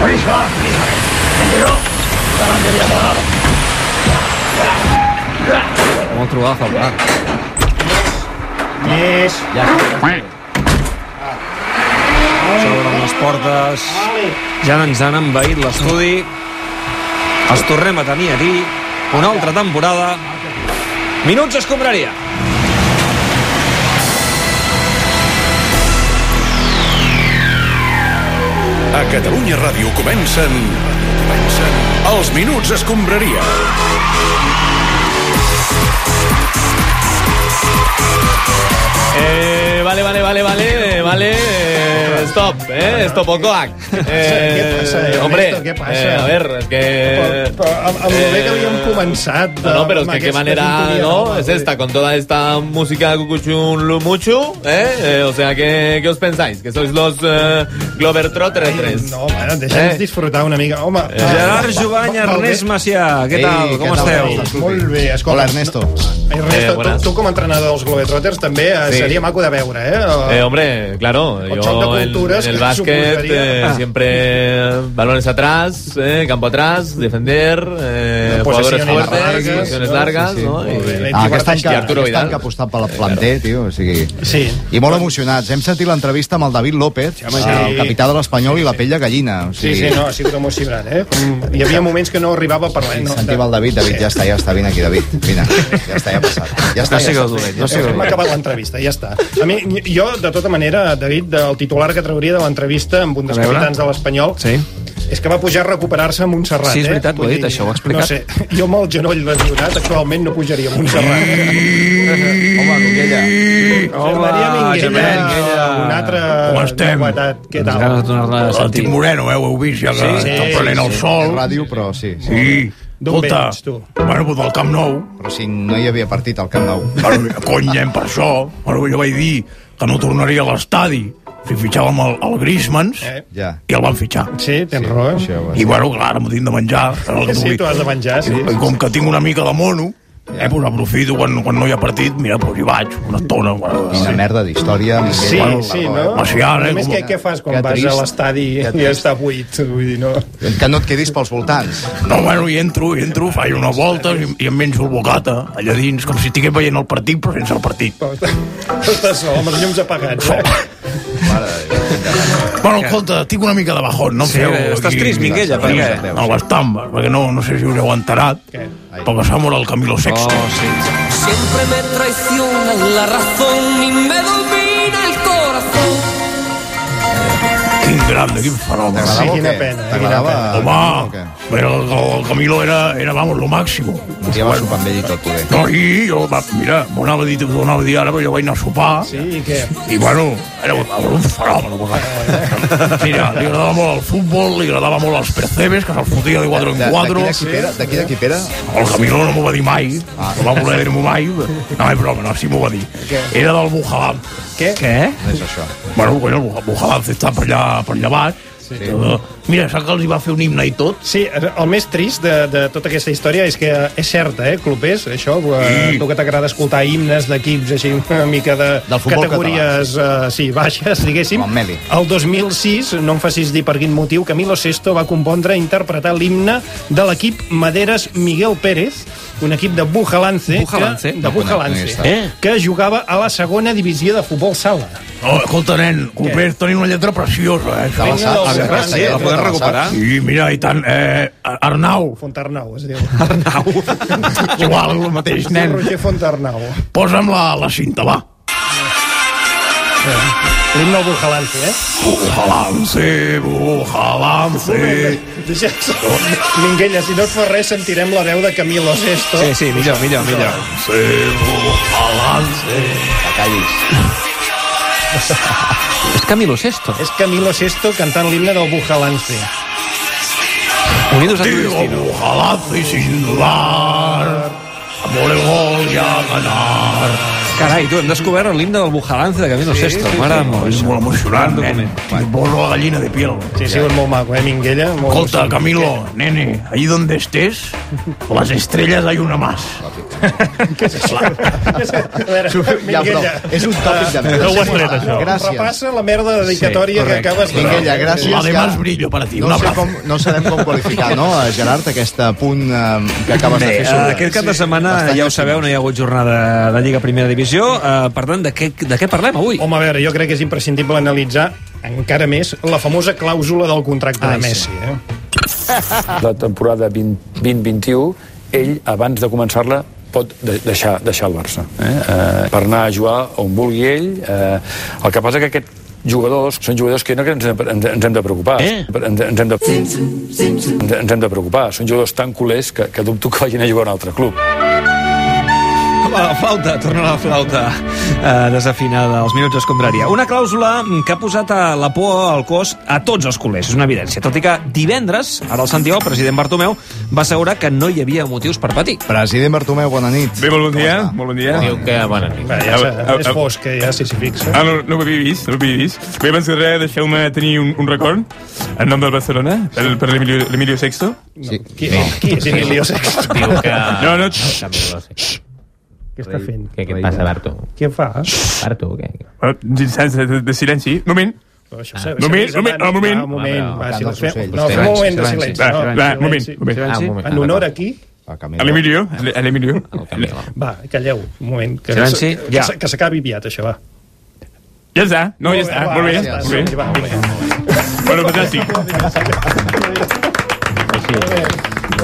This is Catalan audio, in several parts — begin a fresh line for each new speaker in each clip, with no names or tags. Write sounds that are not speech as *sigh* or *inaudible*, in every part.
¡Policía! ¿Entendió? La bandería morada.
Hemos trobat a faltar.
Més.
Ja està.
S'obren les portes,
Vale.
ja ens han envaït l'estudi, els tornem a tenir aquí, una altra temporada, Minuts Escombraria.
A Catalunya Ràdio comencen... comencen els Minuts Escombraria.
Eh, vale, vale, vale, vale, eh, vale. eh, Stop, eh, stop o coac.
*laughs* ¿Qué pasa, Ernesto?
hombre,
¿Qué pasa?
eh, a ver, es que...
Però, però amb, amb lo bé que
Eh,
havíem començat...
No, no, pero es
amb
que qué
aquesta
manera,
tonteria,
¿no?
home,
Es
vull dir,
esta, con toda esta música cucuchun lumuchu, ¿eh? Eh, O sea, ¿qué, qué os pensáis? ¿Que sois los eh, Globetrotters?
No, bueno, deixa'ns
Eh?
disfrutar una mica. Home, eh?
Gerard Jovany, Ernest Macià, què
Ei,
tal?
què
Com
tal?
esteu?
Molt bé, escolta.
Hola, Ernesto.
Eh,
Ernesto,
buenas.
tu, tu com a entrenador dels Globetrotters també eh,
Sí.
seria maco de veure, eh?
Eh, hombre, claro,
O choque
yo
de
en,
culturas
en el
que
básquet
supondría.
eh, siempre eh, balones atrás, eh, campo atrás, defender, eh,
No,
jugadores
posesiones
fuertes,
largas,
posesiones
¿no?
largas,
Sí, sí.
¿no?
Muy
Y-
bien.
Ah, aquest any, que,
I Arturo
aquest any
Vidal.
que ha apostat per la planter, tio, o sigui...
Sí.
I molt emocionats. Hem sentit l'entrevista amb el David López,
home, sí.
el capità de l'Espanyol i la pell de gallina. O
Sí,
sigui,
sí, no, ha sigut emocionant, eh? Com... Hi havia moments que no arribava a parlar. eh? No,
Sentim el David, David, ja està, ja està, vine aquí, David, vine, ja està, ja ha passat. Ja està,
No
ja
sigueu
està.
dolent, no
Sí,
sigueu
Hem
dolent.
acabat l'entrevista, ja està. A mi, jo, de tota manera, David, el titular que trauria de l'entrevista amb un dels
A veure.
capitans de l'Espanyol
Sí.
és que va pujar a recuperar-se a Montserrat.
Sí, és veritat,
eh?
ho he
Vull
dit,
dir,
això, ho ha explicat.
No sé, jo amb el genoll lesionat actualment no pujaria a Montserrat.
Home, Coquella. Home,
Germaria Minguella,
Germaria Minguella.
un altre...
Com estem?
guatat. Què
Tens ganes de
tal?
tornar-la a
El
sentir.
Tim Moreno, eh, ho heu vist, ja que
Sí,
sí,
sí,
està prenent el
sí.
És
sol.
ràdio, però sí, sí.
Sí.
D'on
Escolta,
vens, tu?
Bueno, pues del Camp Nou.
Però si no hi havia partit al Camp Nou.
Bueno, cony, nen, per això. Bueno, jo vaig dir que no tornaria a l'estadi. Si fitxàvem el, el Griezmanns,
Eh?
Ja.
i el van fitxar.
Sí, tens raó. eh?
Això,
I bueno, clar, ara m'ho tinc de menjar. Era el que
Sí,
vull.
tu has de menjar, sí.
I com que tinc una mica de mono, eh, doncs aprofito quan, quan no hi ha partit, mira, doncs hi vaig, una estona. Bueno,
Quina merda d'història. Minguella.
Sí,
Bueno,
sí,
perdó,
no?
eh?
Home, sí, ara,
Només
com-
què, què fas quan
Que
vas a
trist.
l'estadi
Que
i
trist.
està buit? Vull dir, no...
Que no et quedis pels voltants.
No, bueno, hi entro, hi entro, faig una volta i, i em menjo el bocata allà dins, com si estigués veient el partit, però sense el partit.
Però està- Està sol, amb els llums apagats. Eh?
Bueno, escolta, estic una mica de bajón, no em
Sí,
feu...
eh, estàs trist, Minguella, per què?
No, bastant, perquè no, no sé si us heu enterat,
Què?
però que s'ha mort el Camilo Sexto.
Oh, sí.
Siempre me traiciona la razón y me domina el corazón.
Quin grande, quin fenomen.
T'agradava
Sí,
o
quina
què?
pena, quina
T'agradava?
pena.
o
Home,
què?
però el, el Camilo era, era, vamos, lo màximo.
Un dia va sopar amb ell i tot, poder.
No, i jo, va, mira, m'ho anava a dir, t'ho anava a dir ara, però jo vaig anar a sopar,
Sí, i què?
I bueno, era un, un fenomen. un fenomen. Mira, li agradava molt el futbol, li agradava molt els percebes, que se'ls fotia de 4 en
De- D'aquí
4.
d'Equipera? D'aquí d'Equipera?
El Camilo no m'ho va dir mai, no va voler dir-m'ho mai. No, és broma, no, sí m'ho va dir. Era del Bujalam.
Què?
Què?
No és això.
Bueno, bueno, el Bujalam està per allà, per allà baix. Sí. Mira, sap que els hi va fer un himne i tot?
Sí, el més trist de, de tota aquesta història és que és certa, eh, clubers, això, eh, tu que t'agrada escoltar himnes d'equips així una mica de
Del futbol
categories eh, sí, baixes, diguéssim.
Com el Meli.
El 2006, no em facis dir per quin motiu, Camilo Sesto va compondre i interpretar l'himne de l'equip Maderes Miguel Pérez, un equip de Bujalance,
Bujalance?
que,
No
de Bujalance,
conec, no hi
he estat.
que jugava a la segona divisió de futbol sala.
Oh, escolta, nen, Copés, tenia una lletra preciosa, eh?
De la
Vinga,
Sap,
del
aquesta
Ferran,
lletra
La podem
de la
recuperar?
Sap.
I mira, i tant, eh,
*laughs*
Arnau,
Fontarnau, es diu.
Arnau.
igual, el mateix, nen.
Roger Fontarnau.
Posa'm la, la cinta, va.
L'himne del Bujalance, eh?
Bujalance, bujalance.
Deixa... Minguella, si no et fa res, sentirem la veu de Camilo Sesto.
Sí, sí, millor, millor, millor.
Que callis.
És Camilo Sesto.
És Camilo Sesto cantant l'himne del Bujalance.
Unidos a tu
Digo
destino.
bujalance sin dudar. Amor el gol y a ganar.
Carai, tu, hem descobert l'himne del Bujalance de Camilo sí, Sesto. Mare de
És molt
molt.
emocionant, nen.
document.
Em poso la gallina de piel.
Sí, sí, és molt maco, eh, Minguella? Molt
Escolta,
emocionant.
Camilo, nene, ahí donde
*laughs*
estés, las estrellas hay una más.
A veure,
Ja, però
Minguella, Ah,
és un tòpic de merda.
No ho has tret, això.
Gràcies.
repassa la merda dedicatòria sí, que
correcte.
acabes de...
Minguella, gràcies.
Además
que-
brillo para ti. Un
No, sé
abrazo.
com, no sabem com qualificar, no, eh, Gerard, aquest punt eh, que acabes de
Bé,
fer
eh,
sobre...
aquest cap de setmana,
Bastant
ja ho
llàstima.
sabeu, no hi ha hagut jornada de Lliga Primera Divisió. Eh, per tant, de què, de què parlem avui?
Home, a veure, jo crec que és imprescindible analitzar encara més la famosa clàusula del contracte
Ai,
de Messi.
sí.
Eh?
Ah. La temporada 20 2021, ell, abans de començar-la, pot de- deixar, deixar el Barça. Eh? Eh, per anar a jugar on vulgui ell. Eh, el que passa que aquests jugadors són jugadors que no que ens, ens, ens hem de preocupar. Eh? Ens, ens, hem de, ens, ens hem de preocupar. Són jugadors tan culers que, que dubto que vagin a jugar a un altre club.
La flauta, torna la flauta eh, desafinada, els minuts escombraria. Una clàusula que ha posat a la por al cos a tots els culers, és una evidència. Tot i que divendres, ara el Santiago, el president Bartomeu, va assegurar que no hi havia motius per patir.
President Bartomeu, bona nit.
Bé, molt bon dia,
Com està?
molt bon dia.
Diu que, bona nit.
Bé, ja, s'ha- és fosc, eh, ja, si s'hi fixa.
Ah, no, no ho havia vist, no ho havia vist. Bé, abans que res, deixeu-me tenir un, un record en nom del Barcelona, per, per l'Emilio l'Emilio Sexto.
Sí.
Qui, qui és Emilio Sexto?
Diu que...
No, no,
que Camilo Sesto.
Què està fent?
Què, què et passa, Bartu?
Què fa?
Bartu, què?
Uns instants Ah, de, de, de silenci. Un moment.
Però això
Ah.
s'ha-
Moment,
s'ha
moment,
avisat,
un moment.
Va, un moment,
Va,
va, si
però,
no fem...
Silenci,
No, fem un moment de silenci.
Va, va, un
no, silenci.
moment, un moment.
Ah, un moment.
En honor a qui?
A Camilo.
A l'Emilio, a l'Emilio.
Camilo.
Va, calleu, un moment. Que
Silenci,
que-
ja.
Que s'acabi aviat, això, va.
Ja està, no, ja està, molt bé, molt bé.
Va, vinga.
Bueno, fantàstic.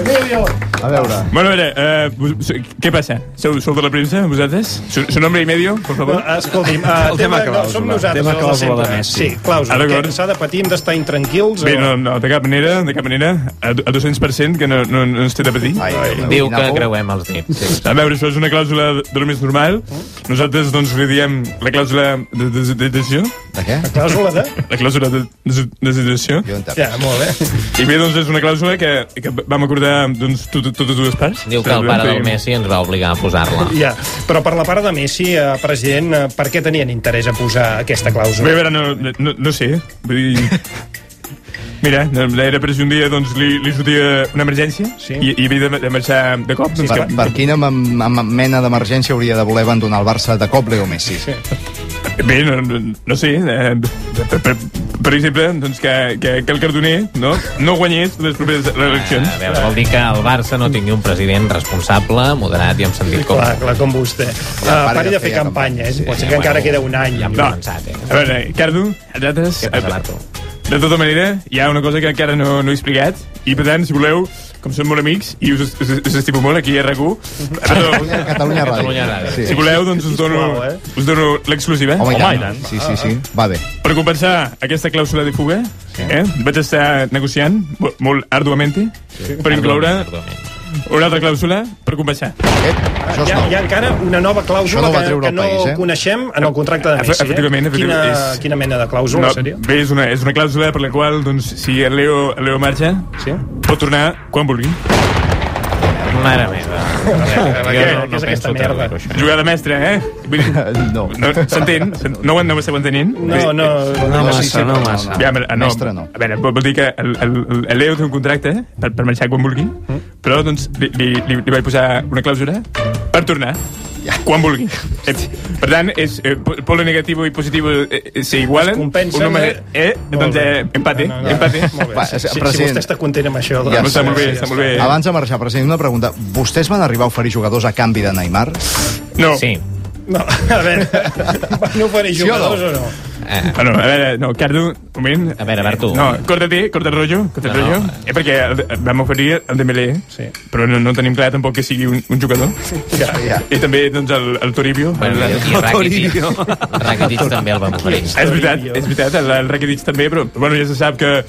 Emilio!
A veure,
Bueno, a veure, eh, vos- què passa? Sou, sou de la premsa, vosaltres? Su, su nombre i medio, por favor.
Escolti'm, uh,
El tema
tema, no,
clàusula.
som nosaltres,
Tema
els de
clàusula de
sempre.
Messi.
Sí,
Ah,
clàusula,
d'acord.
que s'ha de patir, hem d'estar intranquils.
Bé,
o-
no, no, de cap manera, de cap manera. A, a 200% que no, no, no ens té de patir.
Ai, Bartomeu,
Diu
quina
que
por.
creuem els dits. Sí.
A veure, això és una clàusula de lo més normal. Nosaltres, doncs, li diem la clàusula de, de, de, decisió.
De què?
Clàusula de...
La clàusula de, de, de decisió.
Jo en
Ja, molt bé.
I bé, doncs, és una clàusula que, que vam acordar doncs, tot, totes dues parts.
Diu que el pare del Messi ens va obligar a posar-la.
Ja, però per la part de Messi, eh, president, eh, per què tenien interès a posar aquesta
Bé, a
clàusula?
veure, no, no, no sé. Vull
*laughs*
dir... Mira, no, era per si un dia doncs, li, li sortia una emergència
Sí.
i, i havia de, de marxar de cop. doncs,
Per, per quina mem- mem- mena d'emergència hauria de voler abandonar el Barça de cop Leo Messi? Sí.
Bé, no, no, no sé, eh, per, per, per exemple, doncs que, que, que el cardoner no, no guanyés les properes eleccions.
A veure, vol dir que el Barça no tingui un president responsable, moderat i amb sentit comú.
Clar, clar, com vostè. Uh,
pare
pari
de
de fer
fer
campanya, eh?
campanya,
Pot ser
sí,
que encara
bueno.
queda un any.
Ja hem
No.
començat, eh?
A veure, Cardo, a nosaltres... eh,
Què passa, Barto?
De tota manera, hi ha una cosa que encara no, no he explicat, i per tant, si voleu, com som molt amics, i us, us, us estimo molt aquí a RAC1,
*laughs*
però,
Catalunya Ràdio.
Catalunya Ràdio.
si voleu, doncs us dono,
Sisplau, eh?
us dono l'exclusiva.
Home, i
Per
tant. Sí, sí, sí. Va bé.
compensar aquesta clàusula de fuga, eh, vaig estar negociant mo- molt arduament per incloure una altra clàusula per compensar.
Ep, això
Hi
és
ha, hi ha
nou.
encara una nova
Això
clàusula
no va
que,
treure
que
el
no
país, eh?
coneixem en el contracte de
Efe-
Messi.
efectivament,
eh? Quina,
efectivament, és-
quina mena de clàusula seria?
bé, és una, és una clàusula per la qual, doncs, si el Leo, el Leo marxa,
Sí?
pot tornar quan vulgui.
*laughs*
Mare meva. Jo no, no
Què és aquesta
penso
merda?
traduir-ho, això.
Jugada mestra, eh? Vull dir,
*laughs* No.
No, s'entén? No ho en- no ho esteu entenent?
No, no...
No
sí, sí,
massa, no
però no,
massa.
Ja, però, ah, no,
Mestre, no.
A veure, vol vol dir que el, el, el Leo té un contracte eh, per, per marxar quan vulgui,
Mm.
però doncs li, li, li, li vaig posar una clàusula per tornar quan vulgui. Eh, per tant, és, eh, po- polo negativo i positivo eh, se igualen.
Es
Un
compensen,
home, eh? eh
Molt
doncs
bé.
eh, empate,
No, no, no.
empate.
Molt bé.
Va,
Si, si, si
president.
vostè està content amb això...
Ja
Està molt bé,
Sí,
està molt bé.
Abans de marxar, president, una pregunta. Vostès van arribar a oferir jugadors a canvi de Neymar?
No.
Sí.
No, a veure, *laughs* no faré
Sí o no?
jugadors o no?
Ah, no, a veure, no, Cardo, un moment.
Eh. A veure, Bartu.
No, corta-te, corta el rotllo, corta el
No, no.
rotllo. Eh, perquè el- el vam oferir el Dembélé,
Sí.
però no, no tenim clar tampoc que sigui un, un jugador.
*laughs* Ja, ja.
I també, doncs, el, el Toribio.
Bueno,
el,
i, i Rakitic, Rakitic també el va oferir.
és veritat, és veritat, el, el Rakitic també, però bueno, ja se sap que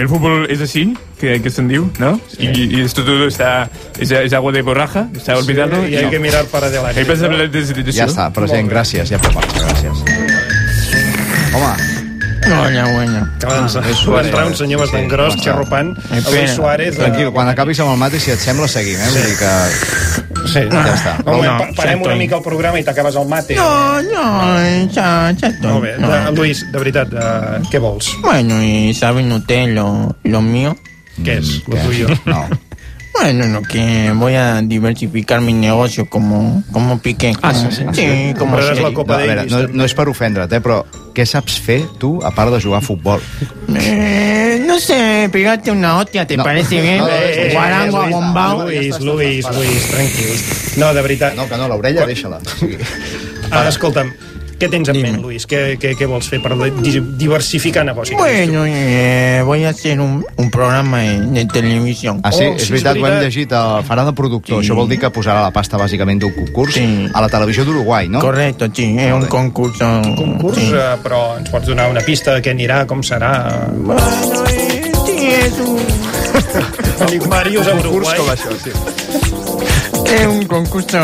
el futbol és així, que, que se'n diu, no? Sí. I, i esto todo está, es, es agua de borraja, está olvidado.
I hay que mirar para adelante.
Ahí passa la desideració.
Ja està, president, gràcies. Ja pot marxar, gràcies. Home,
Acaba
Ah,
d'entrar doncs, entrar un senyor bastant gros, xerropant, a Luis Suárez... eh,
tranquil, quan acabis amb el mate, si et sembla, seguim, eh? Vull dir que...
Sí.
Ja està.
No,
Prou.
no, parem una mica el programa i t'acabes el mate. No,
no, ya, ya estoy.
Molt bé. De, Luis, de veritat, eh, què vols?
Bueno, y saben ustedes lo, lo mío. Mm,
¿Qué es lo
*laughs*
tuyo?
No.
Bueno, lo que voy a diversificar mi negocio como, como piqué.
Ah,
como- Ah, Sí, como Shell.
no, a veure, no, no és per ofendre't, eh, però què saps fer, tu, a part de jugar a futbol?
Eh, no sé, pegate una hostia, ¿te
*laughs*
parece bien? Guarango abombao.
Eh, Luis, Luis, Luis, tranquil. No, de veritat.
No, que no, l'orella, deixa-la.
Ah, escolta'm, què tens en ment, Luis? Què, què, què vols fer per di- diversificar negocis?
Bueno, eh, voy a hacer un, un programa de, de televisión.
Ah,
Oh,
sí, és veritat, ho hem llegit, el farà de productor. Això vol dir que posarà la pasta, bàsicament, d'un concurs a la televisió d'Uruguai, no?
Correcto, sí, es un concurso. Un
concurs, eh, però ens pots donar una pista de què anirà, com serà...
Sí, es un,
Amic Màrius a Uruguai. Com
això, sí.
*laughs* es un concurso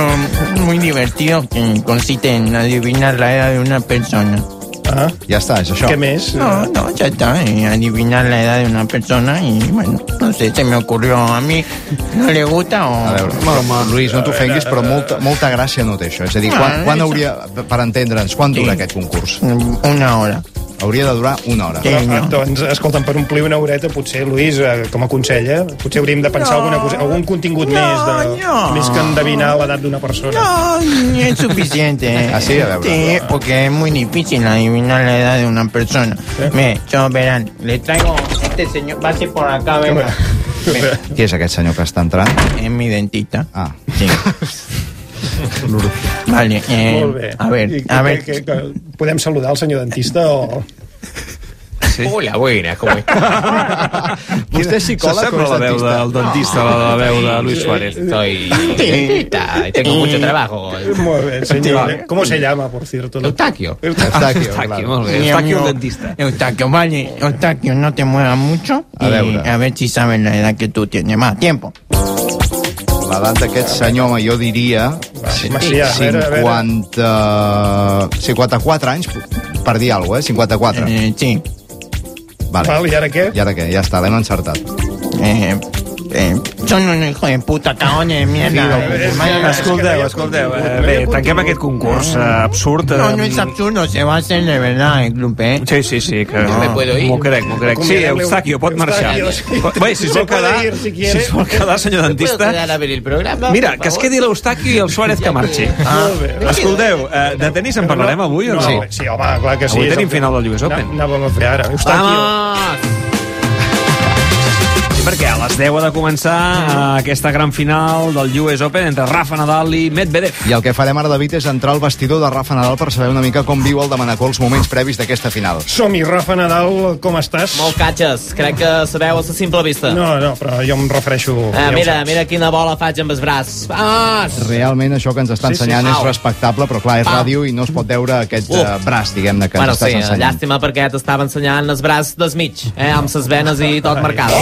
muy divertido que consiste en adivinar la edad de una persona.
Ah,
Ja està, és això.
¿Qué
mes?
No, no, ya está. eh, adivinar la edad de una persona y bueno, no sé, se me ocurrió a mí. ¿No le gusta o...?
A veure, home, Lluís, no t'ofenguis, però molta, molta gràcia no té això. És a dir,
Ah,
quan,
eh,
quan hauria, per entendre'ns, quan dura aquest concurs?
Una hora.
Hauria de durar una hora.
Però, ah, doncs, escolta'm, per omplir una horeta, potser, Lluís, eh, com a consell, eh, potser hauríem de pensar
No.
alguna cosa, algun contingut
No,
més, de,
no.
més que endevinar l'edat d'una persona.
No, es
*laughs*
suficiente.
Ah, sí, a ver,
Sí, porque es muy difícil adivinar la edad de una persona. Ve, yo verán, le traigo este señor, pase por acá, venga.
Qui és aquest senyor que està entrant?
Es mi dentista.
Ah. *laughs*
Sí. Vale, eh,
Molt bé.
a
I
ver,
que-
a ver.
Que, que, que, podem saludar el senyor dentista o...
Hola, buena, ¿cómo estás?
*laughs* Vostè és psicòleg
eh, Se
o és
sembla la veu
dentista?
del dentista, la, la veu de Luis Suárez.
Soy dentista, tengo mucho trabajo.
Eh, Molt bé, senyor. Com se llama, por cierto?
Eustaquio.
Eustaquio,
claro.
molt
Mi
bé. Eustaquio,
amigo
el dentista.
Eustaquio, vale, Eustaquio, no te muevas mucho.
A
y
ver,
a ver si sabes la edad que tú tienes. Más tiempo.
L'edat d'aquest senyor, home, jo diria... Sí,
Macià, a veure, a veure.
50... 54 anys, per dir alguna cosa, eh? 54.
Eh, sí.
Vale.
Val, i ara què?
I ara què? Ja està, l'hem encertat.
Eh, eh, son un hijo de puta, cagones de mierda. Eh, mañana-
Escolteu, escolteu, eh, bé, tanquem aquest concurs eh, absurd.
No,
eh,
no es absurdo, se va a hacer de verdad el club, ¿eh?
Sí, sí, sí, que
Yo me puedo ir.
m'ho crec, m'ho crec. Sí,
Convidar-lo.
Eustaquio, pot marxar.
Eustaquio, sí.
Po- Bé, si es
Se
vol
puede
quedar,
ir, si
si
quiere.
es vol quedar, senyor dentista...
ver el programa?
Mira, que es quedi l'Eustaquio i el Suárez que marxi.
Ah.
Escolteu, eh, de tenis en parlarem avui o no?
Sí. sí, home, clar que sí.
Avui
és el
tenim
que-
final del US Open.
Ana- Anàvem a fer ara. Eustaquio.
Sí, perquè a les 10 ha de començar eh, aquesta gran final del US Open entre Rafa Nadal i Medvedev.
I el que farem ara, David, és entrar al vestidor de Rafa Nadal per saber una mica com viu el de Manacor els moments previs d'aquesta final.
Som-hi, Rafa Nadal, com estàs?
Molt catxes, crec que sabeu a la simple vista.
No, no, però jo em refereixo...
Ah,
ja ho
mira,
saps.
mira quina bola faig amb els braç. Ah!
Realment això que ens està
Sí, sí,
ensenyant
au.
és respectable, però clar, és
Pam.
ràdio i no es pot veure aquest
Uf.
eh, braç, diguem-ne, que
bueno,
ens estàs
sí, eh,
ensenyant.
llàstima perquè t'estava ensenyant els braç des mig, eh, amb ses venes i tot marcat.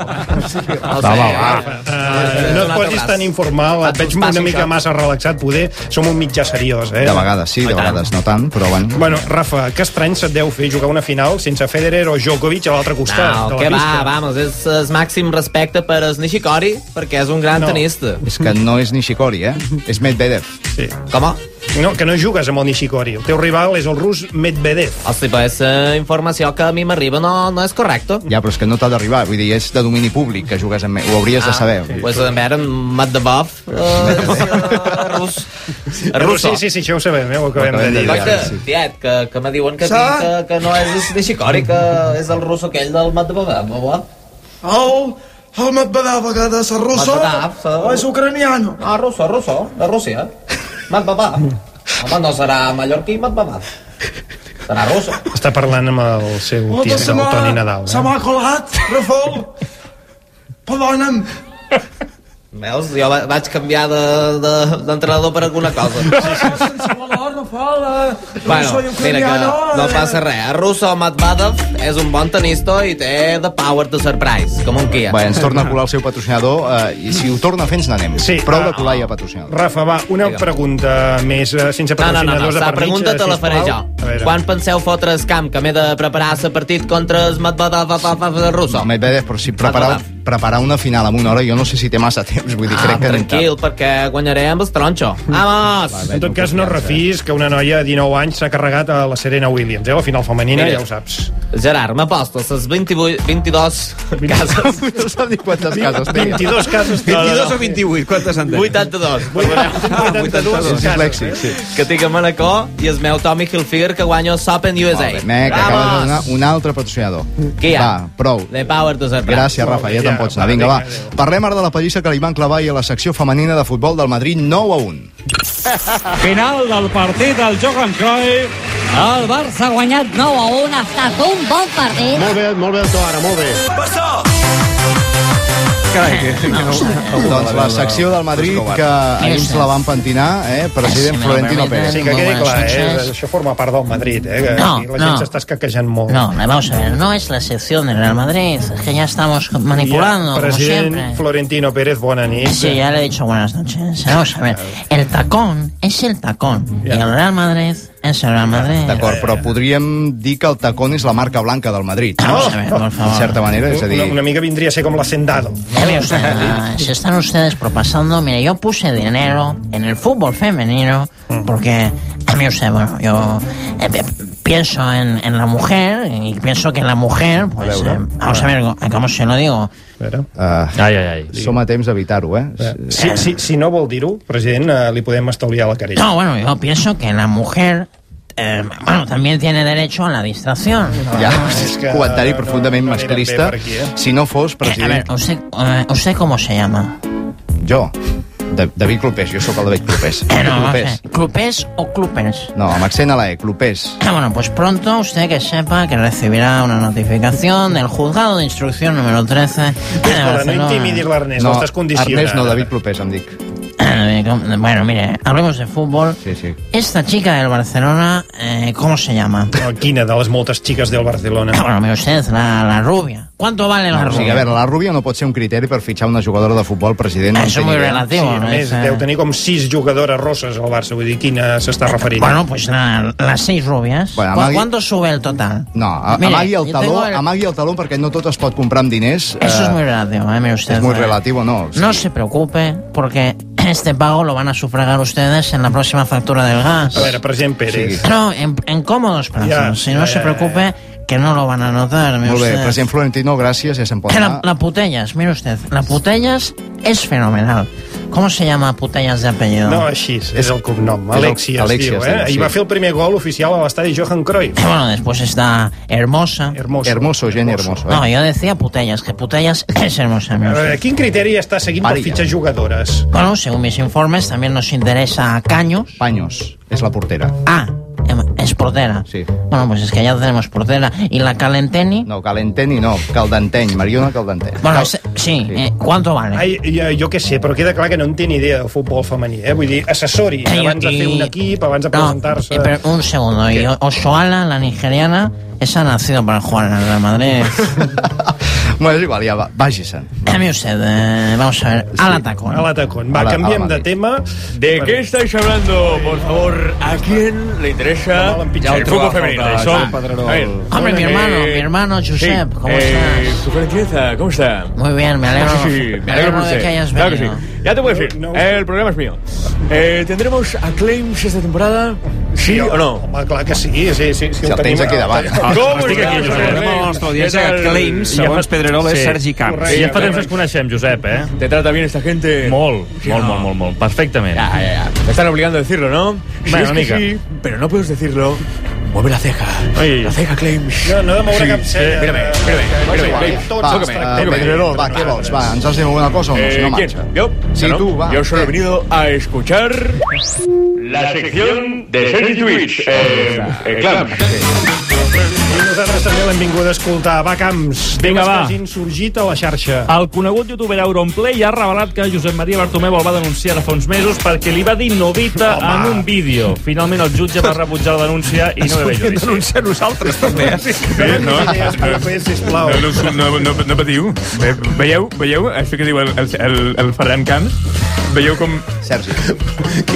Va, va, va.
Eh, no et posis tan informal, et veig una
passi,
mica
això.
massa relaxat, poder. Som un mitjà seriós, eh?
De vegades sí, de vegades no tant, però bueno.
Bueno, Rafa, que estrany se't deu fer jugar una final sense Federer o Djokovic a l'altre costat
No,
de
que
la
va,
pista.
vamos, és el màxim respecte per el Nishikori, perquè és un gran
No.
no. tenista.
És que no és Nishikori, eh? És Medvedev.
Sí.
Com?
No, que no jugues amb el Nishikori. El teu rival és el rus Medvedev.
*laughs* O sigui, aquesta informació que a mi m'arriba no, no és correcta.
Ja, però és que no t'ha d'arribar, vull dir, és de domini públic que jugues amb... Ho hauries de saber.
Ah, pues a veure, Medvedev,
Sí, sí, sí, això ho sabem, eh? ho acabem,
acabem de
de dir.
dir.
Coita, tiet, que, que me diuen que,
Sa-
tinc, que, que no és de Xicori, que és el russo aquell del Mat de Badab, o what?
El, el Medvedev, que de ser russo,
Medvedev, sa-
o és ucraniano.
Ah, russo, russo, de Rússia. Mat Badab. Home, no serà mallorquí, Mat Badab. Serà russo.
Està parlant amb el seu
Molta
tiet,
se
el
m'ha-
Toni Nadal.
Se
Eh?
m'ha colat, Rafol. Perdona'm.
Veus, jo va- vaig canviar de- de- d'entrenador de, per alguna cosa.
Sense valor, Rafol. eh?
Bueno,
Russo i
mira que
ucraniano,
no
eh?
passa res. El russo Matbadov és un bon tenista i té the power to surprise, com un Kia.
Bé, ens torna a
*laughs*
colar el seu patrocinador eh, i si ho torna a fer ens n'anem.
Sí.
Prou de colar i a Eh. patrocinador.
Rafa, va, una pregunta més, eh, sense
No, no, no, no.
patrocinadors de
la
per eh,
pregunta
mitja,
te la
sisplau.
faré
A
jo.
veure.
Quan penseu fotre el camp que m'he de preparar el partit contra el Medvedev de Russo?
Medvedev, però si preparar, preparar una final en una hora, jo no sé si té massa temps, vull dir,
tota Ah,
crec que... ni
tranquil, perquè guanyaré amb els tronxo. Vamos!
En tot cas, no refis que una noia de 19 anys s'ha carregat a la Serena Williams, eh? la final femenina, ja ho saps.
Gerard, m'aposto, les 28, 22
*laughs*
cases.
no sap dir quantes cases té.
22 cases.
22
o 28, quantes en tenen?
82. perdoneu.
82 cases. Sí.
eh?
Que tinc a Manacor i el meu Tommy Hilfiger que guanyo el Open USA.
Mec, Eh, acaba de donar
Vamos!
un altre patrocinador.
Qui hi ha?
Va, prou.
The power to surprise.
Gràcies, Rafa, ja te'n pots anar. Vinga, va. Parlem ara de la pallissa que li van clavar ahir a la secció femenina de futbol del Madrid 9 a 1.
*laughs* Final del partit del Johan Cruyff. El Barça ha guanyat 9 a 1, ha estat un bon partit. Molt bé, molt bé, Toara, molt bé.
Carai, Eh, doncs la secció del Madrid
eh,
que ahir ens la van pentinar, eh? president Florentino Pérez.
Sí, que quedi clar, eh? això forma part del Madrid, eh? que
No,
aquí la gent
no.
s'està escaquejant molt.
No, vamos a ver, no es la sección del Real Madrid, es que ya estamos manipulando,
Ya,
como
president
siempre.
Florentino Pérez, bona nit.
Sí, ya le he dicho buenas noches. Vamos a ver, el tacón es el tacón, y el Real Madrid es el Real Madrid.
D'acord, però podríem dir que el tacón és la marca blanca del Madrid. No? En certa manera, és a dir...
Una, una mica vindria a ser com la Sendado.
Ya ve usted, ah, se están ustedes propasando. Mire, yo puse dinero en el fútbol femenino porque a mí usted, bueno, yo eh, eh, pienso en, en la mujer y pienso que la mujer, pues, eh, vamos a ver co- cómo se lo digo.
Uh, ai, ai, ai. Som a temps d'evitar-ho, eh?
Si, si, si no vol dir-ho, president, eh, li podem estalviar la carella.
No, bueno, yo pienso que la mujer, eh, bueno, también tiene derecho a la distracción.
Ja, és un comentari profundament masclista. Si no fos,
eh. A
president...
ver, usted, eh, ¿usted cómo se llama?
Jo, Da- David Clopés, jo sóc el David Clopés.
Eh, no, no
Clopés.
sé, ¿Clupés o Clupers?
No, amb accent a la E, Clopés.
Ah, bueno, pues pronto usted que sepa que recibirá una notificación del juzgado de instrucción número 13 de
Escolta, no
Barcelona.
intimidis l'Ernest, no, l'estàs condicionant.
Ernest no, David Clopés,
*clears throat*
em dic.
Eh, com- Bueno, mire, hablemos de fútbol.
Sí, sí.
Esta chica del Barcelona, eh, ¿cómo se llama?
Quina de les moltes xiques del Barcelona?
Ah, bueno, mire usted, la, la rubia. ¿Cuánto vale la
No, o sigui,
rubia?
a veure, la rúbia no pot ser un criteri per fitxar una jugadora de futbol, president. no en
Això
té
muy
ni idea.
relativo,
Sí, a
no
més,
és, eh?
deu tenir com sis jugadores rosses al Barça, vull dir, quina s'està referint?
Bueno, pues la- las seis rubias.
Bueno,
¿Cu-
amagui-
¿Cuánto sube el total?
No, a-
Mire,
amagui el
yo
taló,
tengo el-
amagui el taló perquè no tot es pot comprar amb diners.
Eso es
eh,
muy relativo, eh, mire usted.
és muy
eh.
relativo, no.
No se preocupe, porque *clears throat* este pago lo van a sufragar ustedes en la próxima factura del gas.
A veure, president Pérez. eh.
No, en, en cómodos plazos.
Ya,
si no
ya,
se
ya,
preocupe, que no lo van a notar. mire
Molt bé,
usted.
president Florentino, gràcies, ja se'n pot
Que
anar.
La, la Putellas, mire usted, la Putellas es fenomenal. ¿Cómo se llama Putellas de apellido?
No, així és, és el cognom.
és el-
Alexia, es
Alexia
diu,
es
eh?
diu, sí.
I va fer el primer gol oficial a l'estadi Johan Cruyff.
Eh, Bueno, después está Hermosa.
Hermoso.
Hermoso, Jenny Hermoso. eh?
No, yo decía Putellas, que Putellas *coughs* es hermosa. mire
A
usted.
veure, quin criteri està seguint per
Maria.
fitxar jugadores?
Bueno, según mis informes, también nos interesa a Caños.
Paños, es la portera.
Ah, em- es portera.
Sí.
Bueno, pues es que ya tenemos portera. ¿Y la Calenteni?
No, Calenteni no, Caldenteny, Mariona Caldenteny.
Bueno, se- sí, eh, ¿cuánto vale?
Ai, jo, jo què sé, però queda clar que no en té ni idea de futbol femení, eh? Vull dir, assessori,
Ei,
abans de
i-
fer un equip, abans de
No,
presentar-se...
eh, pero un segundo. Y O- Osoala, la nigeriana, esa ha nacido para jugar en el Real Madrid.
Bueno, és igual, ja va, vagi-se'n.
Dame usted, eh, vamos a ver, al atacón.
Al atacón. Va,
Al-
canviem
al
de tema.
¿De qué estáis hablando? Por favor, ¿a quién le interesa el fútbol femenino? Eso- a ver.
Hombre, mi
Eh,
hermano, mi hermano Josep,
sí.
¿cómo
Eh,
estás?
Su franqueza, ¿cómo está?
Muy bien, me alegro,
Sí, sí,
me
me alegro
alegro
por
de
usted.
que hayas
Claro que
venido.
sí. Ya te puedes ir. El programa es mío. Eh, ¿Tendremos a Claims esta temporada? ¿Sí o no?
Home, clar que sí, sí, sí. sí
Si el tens aquí davant.
Ah,
Com
Estic
està?
aquí, Josep.
Josep?
Recordem a la nostra audiència
Què
que
tal?
Claim, segons Pedrerol, és Sergi Camps.
Ja fa
Correcte.
temps que ens coneixem, Josep, eh?
¿Te trata bien esta gente?
Molt,
Sí,
molt,
no.
molt, molt, molt. Perfectament.
Ya, ya, ya. Me están obligando a decirlo, ¿no? Si
Bueno,
es que
mica.
sí, pero no puedes decirlo. Mueve la ceja. La ceja, Claims.
No, no he de moure cap cella.
Mírame, mírame, mírame. Claims.
Va,
Tócame,
eh,
tócame.
Pedrerol, va, què vols? Doncs Va, ens has de mover una cosa o no? Si no
Eh, ¿quién?
marxa.
¿Yo?
Sí,
No, no.
tu, va. Eh.
Yo solo he
Què?
venido a escuchar la sección de Sergi Twitch. Eh, eh, Clams.
I nosaltres també l'hem vingut a escoltar. Va, Camps,
Vinga,
temes
va.
que hagin sorgit a la xarxa.
El conegut youtuber Auronplay ha revelat que Josep Maria Bartomeu el va denunciar ara fa uns mesos perquè li va dir novita Home. en un vídeo. Finalment el jutge va rebutjar la denúncia i no va haver judici.
denunciar nosaltres, també. Sí, no,
no,
no, no, no, no patiu. Ve- Veieu, veieu això que diu el, el, el Ferran Camps? Veieu com
Sergi.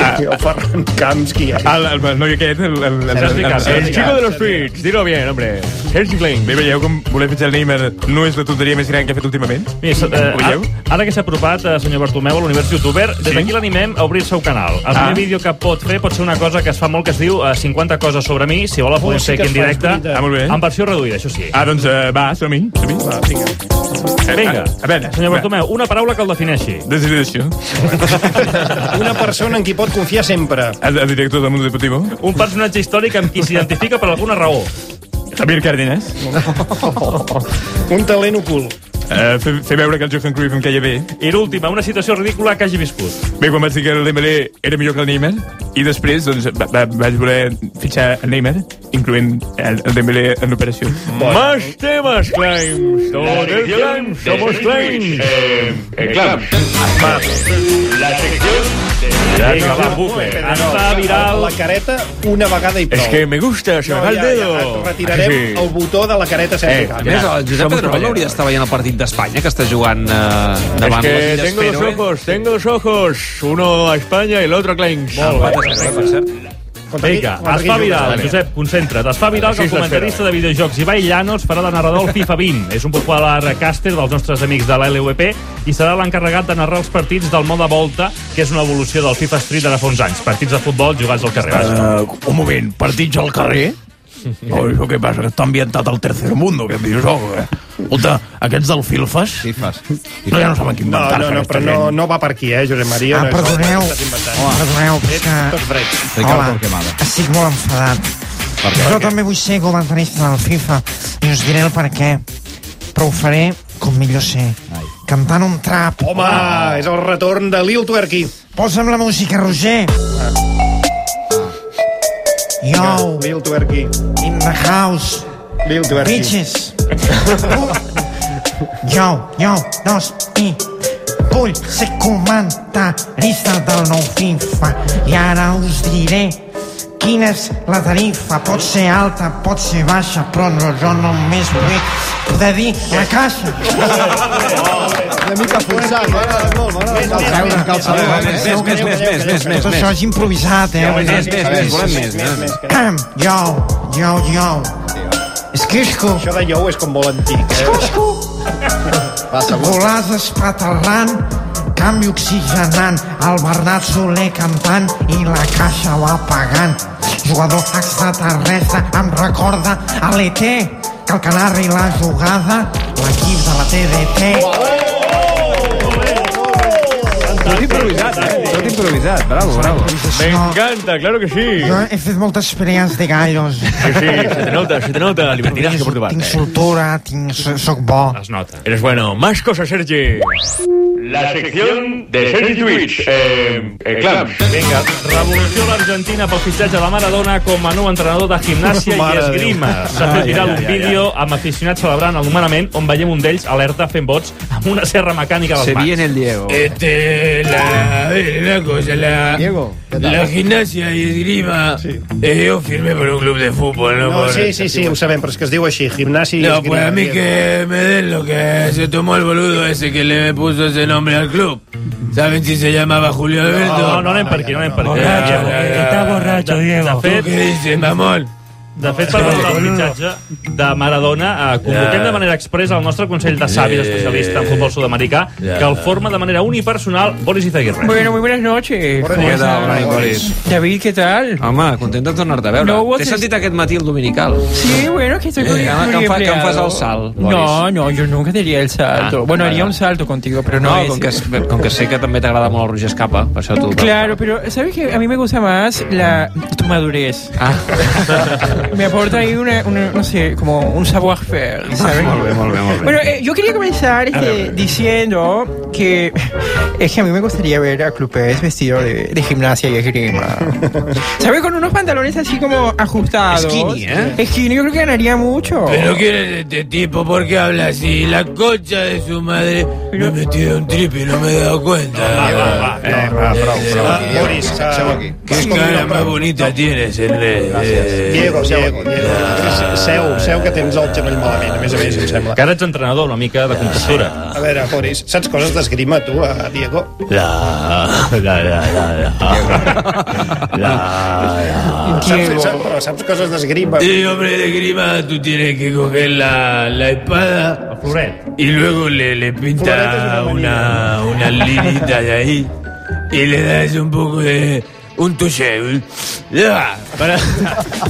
Ah, el Ferran Camps, qui és?
El, el, el noi aquest, el, el, el, el,
Sergi
el,
Camps,
el,
Sergi
chico
Camps,
de los
Sergi
tweets, dilo bien, hombre. Sergi Klein. Bé, veieu com voler fitxar el Neymar no és la tonteria més gran que ha fet últimament?
Mira, so- eh,
Ho veieu?
a- ara que s'ha apropat, eh, senyor Bartomeu, a l'univers youtuber, des
Sí?
d'aquí l'animem a obrir el seu canal. El
Ah.
primer vídeo que pot fer pot ser una cosa que es fa molt, que es diu eh, 50 coses sobre mi, si vol la podem
Oh, sí
fer
que
aquí en
es fa, és
directe,
veritat. Ah, molt bé.
en versió reduïda, això sí.
Ah, doncs eh, va, som-hi. Som va, vinga.
Vinga,
a veure,
senyor
va.
Bartomeu, una paraula que el defineixi.
Desideració.
Una persona en qui pot confiar sempre.
El, el director del Mundo Deportivo.
Un personatge històric amb qui s'identifica per alguna raó.
Javier Cárdenas.
Un talent ocult.
Eh, fer, fer veure que el Johan Cruyff em caia bé.
I l'última, una situació ridícula que hagi viscut.
Bé, quan vaig dir que el Dembélé era millor que el Neymar, i després doncs, va, va, vaig voler fitxar el Neymar, incloent el, el Dembélé en l'operació.
Más temas, Claims. Todo el Claims. Somos
Eh,
Claims.
Clams.
La sección... Ja que va en bucle. Està viral.
La careta una vegada i prou.
Es que me gusta, se me va el dedo.
et retirarem
Ah, sí.
el botó de la careta sense
Eh,
cap.
a
A més, el Josep Pedrerol no hauria d'estar veient el partit d'Espanya, que està jugant eh,
Es
davant
que
les Illes
tengo dos
¿eh?
Fèroe.
ojos, tengo dos ojos. Uno a España y el otro a Clanks.
Vinga, es fa viral, Josep, concentra't. Es fa viral que el
Així s'espera.
comentarista de videojocs Ibai Llanos farà de narrador al FIFA
*laughs*
20. És un popular caster dels nostres amics de la LVP i serà l'encarregat de narrar els partits del mode volta, que és una evolució del FIFA Street d'ara fa uns anys. Partits de futbol jugats al carrer. vaja.
Uh, un moment, partits al carrer? No, això què passa? Que està ambientat al tercer mundo, aquest videojoc, eh? Escolta, aquests del Filfas... Filfas. No, ja no saben quin
No,
inventar.
no, no, però no, no va per aquí, eh, Josep Maria.
Ah,
no és el que
perdoneu.
estàs inventant.
Home,
perdoneu, però és
Ets
que-
Tots drets.
Hola, estic molt enfadat. Jo també vull ser comentarista del FIFA i us diré el per què. Però ho faré com millor sé. Cantant un trap.
Home, és el retorn de Lil Twerky.
Posa'm la música, Roger. Yo.
Lil Twerky.
In the house.
Lil Twerky. *laughs*
Bitches. jo, jo, dos i... Vull ser comentarista del nou FIFA i ara us diré quina és la tarifa. Pot ser alta, pot ser baixa, però no, jo només vull poder dir la caixa.
*laughs* Una mica forçat, eh. m'agrada molt, m'agrada molt. Treure en calça bé, eh?
Més, més, més, més, més, més. Tot això és improvisat, eh?
Més, més, més, més, volem més, més, més.
Ahem, Yo, yo, yo. Esquisco.
Això de yo és com molt antic, eh? Passa, passa.
Volàs espaterrant, canvi oxigenant, el Bernat Soler cantant i la caixa va pagant. Jugador extraterrestre em recorda a l'ET, que el canari l'ha jugada, l'equip de la TDT.
Tot improvisat, eh? Tot improvisat, bravo, bravo.
Me encanta, claro que sí.
Jo he fet moltes pelees de gallos.
Sí, sí, se te nota, se te nota. Libertinaje por tu parte.
Tinc soltura, tinc, so- soc bo.
Es nota.
Eres bueno. Más cosas, Sergi.
La sección de
Sergi
Twitch. Eh, eh, Clams.
Vinga, revolució a l'Argentina pel fitxatge de Maradona com a nou entrenador de gimnàsia i
Mare de
esgrima.
Déu.
S'ha fet
Ai,
viral
ai,
un
ai, ai.
vídeo amb aficionats celebrant el nomenament on veiem un d'ells alerta fent vots amb una serra mecànica a les
Se
mans.
viene el Diego.
Eh,
Este, la, a ver, una cosa, la, la gimnasia y esgrima, eh, yo firmé por un club de fútbol, ¿no?
No,
Por-
sí, sí, sí, ho sabem, però és que es diu així, gimnàsia... i
No,
esgrima.
pues a mí que me den lo que se tomó el boludo ese que le puso ese nombre al club. ¿Saben si se llamaba Julio Alberto?
No, no anem per aquí, no anem per aquí.
Borratxo,
Diego.
está borracho, Diego.
De fet,
¿Tú qué dices, mamón?
De fet, per valorar el fitxatge de Maradona, eh, convoquem
Ja.
de manera expressa al nostre Consell de Savis especialista en futbol sud-americà,
Ja.
que el forma de manera unipersonal Boris Izaguirre.
Bueno, muy buenas noches.
Buenas
¿Cómo
noches.
están?
Hola, Nicolás.
David, ¿qué tal?
Home, content de tornar-te a veure.
No, vos
T'he
es-
sentit aquest matí el dominical.
Sí, bueno, que estoy con,
Eh,
con
que
mi
em fa- que em
empleado.
fas el salt, Boris.
No, no, yo nunca daría el salto.
Ah,
bueno,
vale.
haría un salto contigo, pero no,
No,
ese.
com que, com que sé que també t'agrada molt el Roger Escapa, per això tu...
Claro, pero ¿sabes qué? A mí me gusta más la, tu madurez. me aporta ahí una, una- no sé, como un savoir-faire, ¿sabes?
Molt bé, molt bé, molt bé.
Bueno, eh, yo quería comenzar este, diciendo que *laughs* es que a mí me gustaría ver a Clupés vestido de, de gimnasia y esgrima. ¿Sabes? Con unos pantalones así como ajustados.
Skinny, ¿eh?
Skinny, yo creo que ganaría mucho.
¿Pero quién es este tipo? ¿Por qué habla así? La concha de su madre me he metido un trip y no me he dado cuenta. Eh, eh, eh,
Ah,
eh,
Boris,
eh,
seu aquí.
Qué cara más bonita tienes, Enrique. Eh,
eh, Diego, Diego, Diego. Seu, seu que tens el xavell malament, a més a més, em sembla.
Que ara ets entrenador, no? una mica de compostura.
Ah.
A veure, Boris, saps coses d'esgrima, tu, a Diego?
La, la, la, la, la.
Ah.
La... Saps, saps, però saps coses d'esgrima.
Sí, hombre de grima, tú tienes que coger la, la espada y luego le, le pinta una, una linita de ahí y le das un poco de... Un touché, un... Ya, para...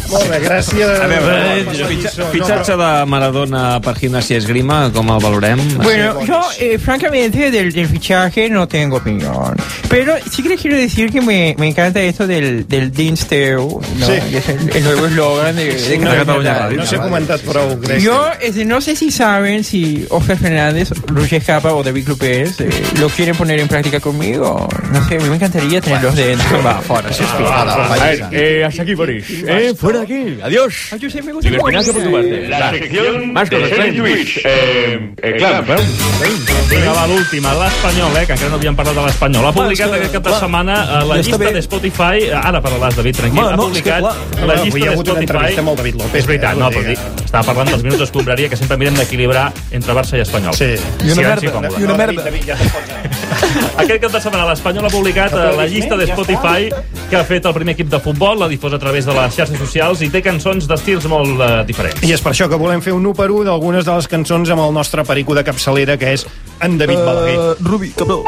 Molt bé, gràcies.
A veure,
Passa lliçó, no,
fitxatge de Maradona per gimnasia esgrima, com el valorem?
Bueno, yo eh, francamente del, del fichaje no tengo opinión. Pero sí que les quiero decir que me, me encanta esto del, del Dean Steo, ¿no?
Sí.
Que es el, el nuevo eslogan de, de
no,
Catalunya Radio.
no s'ha comentat prou, crec.
Yo este, no sé si saben si Oscar Fernández, Luis Escapa o David López eh, lo quieren poner en práctica conmigo. No sé, a mí me encantaría tenerlos dentro. Va, fuera, se explica.
Ah, A ver, eh, hasta aquí, Boris. Eh, fuera de aquí. Adiós.
Ay, yo sé, me gusta cómo
Libertinazo por tu parte.
La sección
Más cosas,
de
Frank.
sándwich.
Eh, eh, clam, clam.
Vinga, va, l'última, l'Espanyol, eh, que encara no havíem parlat de l'Espanyol. Ha
és
publicat
que,
aquest cap de
clar,
setmana eh,
està
la llista
bé.
de Spotify, eh, ara parlaràs, David, tranquil,
Home,
ha
no, és que,
publicat
clar,
la
no,
llista
hi ha
de
hagut una
Spotify.
entrevista amb el David López,
És veritat,
eh,
no,
vull
però
dir.
dic, estava parlant dels minuts d'escombraria, que sempre mirem d'equilibrar entre Barça i Espanyol. Sí.
I una merda, i una merda.
Aquest cap de setmana l'Espanyol ha publicat eh, la llista de Spotify que ha fet el primer equip de futbol, la difosa a través de les xarxes socials i té cançons d'estils molt eh, diferents.
I és per això que volem fer un 1 per 1 d'algunes de les cançons amb el nostre perico de capçalera, que és en David
Eh,
uh... Balaguer.
Rubi, cabró.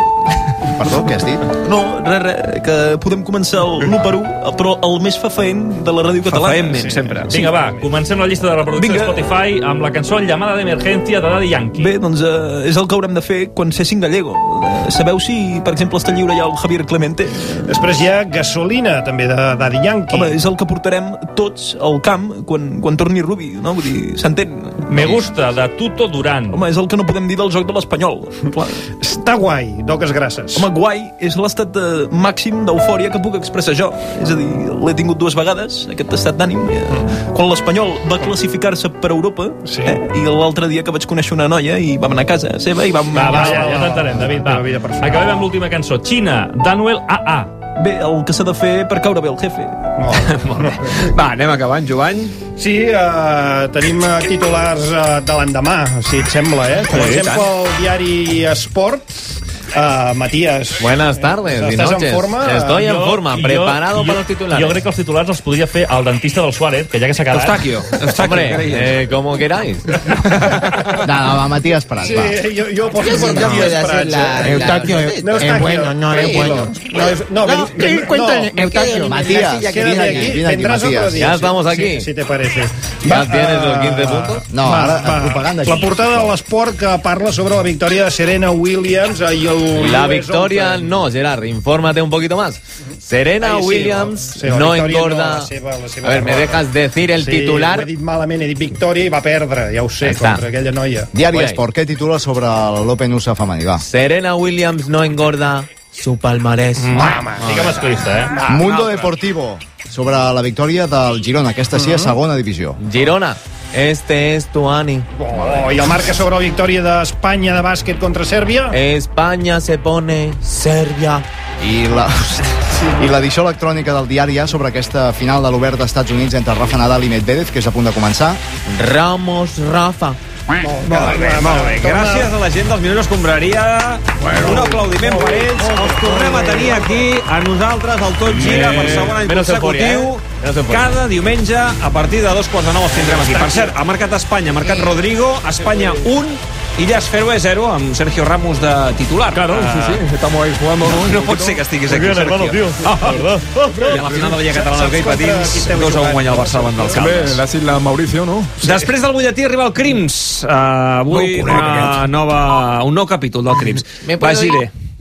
Perdó, què has dit?
No, res, res, que podem començar l'1 per 1, però el més fafaent de la ràdio catalana. Sí.
Vinga, va, comencem la llista de reproducció
Vinga.
de Spotify amb la cançó Llamada d'Emergència de Daddy Yankee.
Bé, doncs eh, és el que haurem de fer quan cessin Gallego. Eh, sabeu si, per exemple, està lliure ja el Javier Clemente?
Després hi ha Gasolina, també, de Daddy Yankee.
Home, és el que portarem tots al camp quan, quan torni Rubi, no? Vull dir, s'entén?
Me gusta, de Tuto Durán.
Home, és el que no podem dir del joc de l'Espanyol. clar.
Està guai, d'oques grasses.
Home, guai és l'estat de màxim d'eufòria que puc expressar jo. És a dir, l'he tingut dues vegades, aquest estat d'ànim. Eh, Quan l'Espanyol va classificar-se per Europa, sí. eh, i l'altre dia que vaig conèixer una noia i vam anar a casa seva i vam...
Va, va, ja, ja t'entenem, David, va. Acabem amb l'última cançó. Xina, Danuel AA.
Bé, el que s'ha de fer per caure bé el jefe.
Va, anem acabant, Jovany. Sí, eh, tenim eh, titulars eh, de l'endemà, si et sembla, eh? Per
Sí,
exemple,
tant.
el diari Esport, eh, Matías.
Buenas tardes y
¿Estás
noches.
en forma?
Estoy en
Jo-
forma,
jo-
preparado para los titulares.
Eh? Jo crec que els titulars els podria fer el dentista del Suárez, que ja que s'ha quedat...
Eustaquio, Eustaquio, Hombre, què deies? eh,
com queráis.
Nada, va, Matías Prats,
Sí,
va.
yo, yo por
Yo por
Matías
cambio de hacer
Prats,
la-
eh.
la- Eustaquio, es- es bueno, no es bueno.
No, es-
No,
no, ven-
que
ven-
cuéntale,
no.
Eustaquio,
Quédate
Matías,
aquí,
que
quédate
viene aquí, viene aquí,
vendrás otro
Matías.
día,
Ya
sí,
estamos
sí,
aquí.
Si te parece.
¿Ya
Va,
tienes los
ah,
15 puntos? No,
va,
ahora
va.
la propaganda
La
aquí.
portada de l'esport que parla sobre la victòria de Serena Williams i el
La
US
victoria
Open.
no, Gerard, infórmate un poquito más. Serena
Ahí sí,
Williams
sí, la
no
victòria
engorda.
la seva- la seva
a ver, ¿me
derrota.
dejas decir el
sí,
titular?
ho he dit malament, he dit victòria i va perdre, ja ho sé,
Està.
contra aquella noia.
Diari
Guai.
Esport, què titula sobre l'Open USA femení? Va.
Serena Williams no engorda su palmarés.
Mama,
digue masclista, eh?
Mundo Deportivo, sobre la victòria del Girona, aquesta sí a segona divisió.
Girona, este es tu Ani.
Oh, I el marca sobre la victòria d'Espanya de bàsquet contra Sèrbia.
España se pone Serbia.
I la, *laughs* I l'edició electrònica del diari A sobre aquesta final de l'obert dels Estats Units entre Rafa Nadal i Medvedev, que és a punt de començar.
Ramos Rafa.
Molt bé, molt bé. Gràcies a la gent dels Minuts Escombraria. Un aplaudiment per ells. Els tornem a tenir aquí, a nosaltres, al Tot Gira, per segon any
Menos euforia,
consecutiu.
eh? Menos euforia.
Cada diumenge, a partir de dos quarts de nou, els tindrem aquí. Per cert, ha marcat Espanya, ha marcat Rodrigo, Espanya 1, Illas Feroe 0, amb Sergio Ramos de titular. Claro,
sí, sí,
estamos ahí jugando. No, no pot ser que estiguis aquí,
Bien, hermano,
Sergio. I a la final de la Lliga Catalana d'Hockey Patins, dos a un guanyar el Barça davant dels
Hombre,
Caldes.
l'has dit la Mauricio, no?
Sí. Després del butlletí arriba el Crims. Uh, avui
No ho conec,
una nova, un nou capítol del Crims.
Me puedo
Vagi
ir?
bé.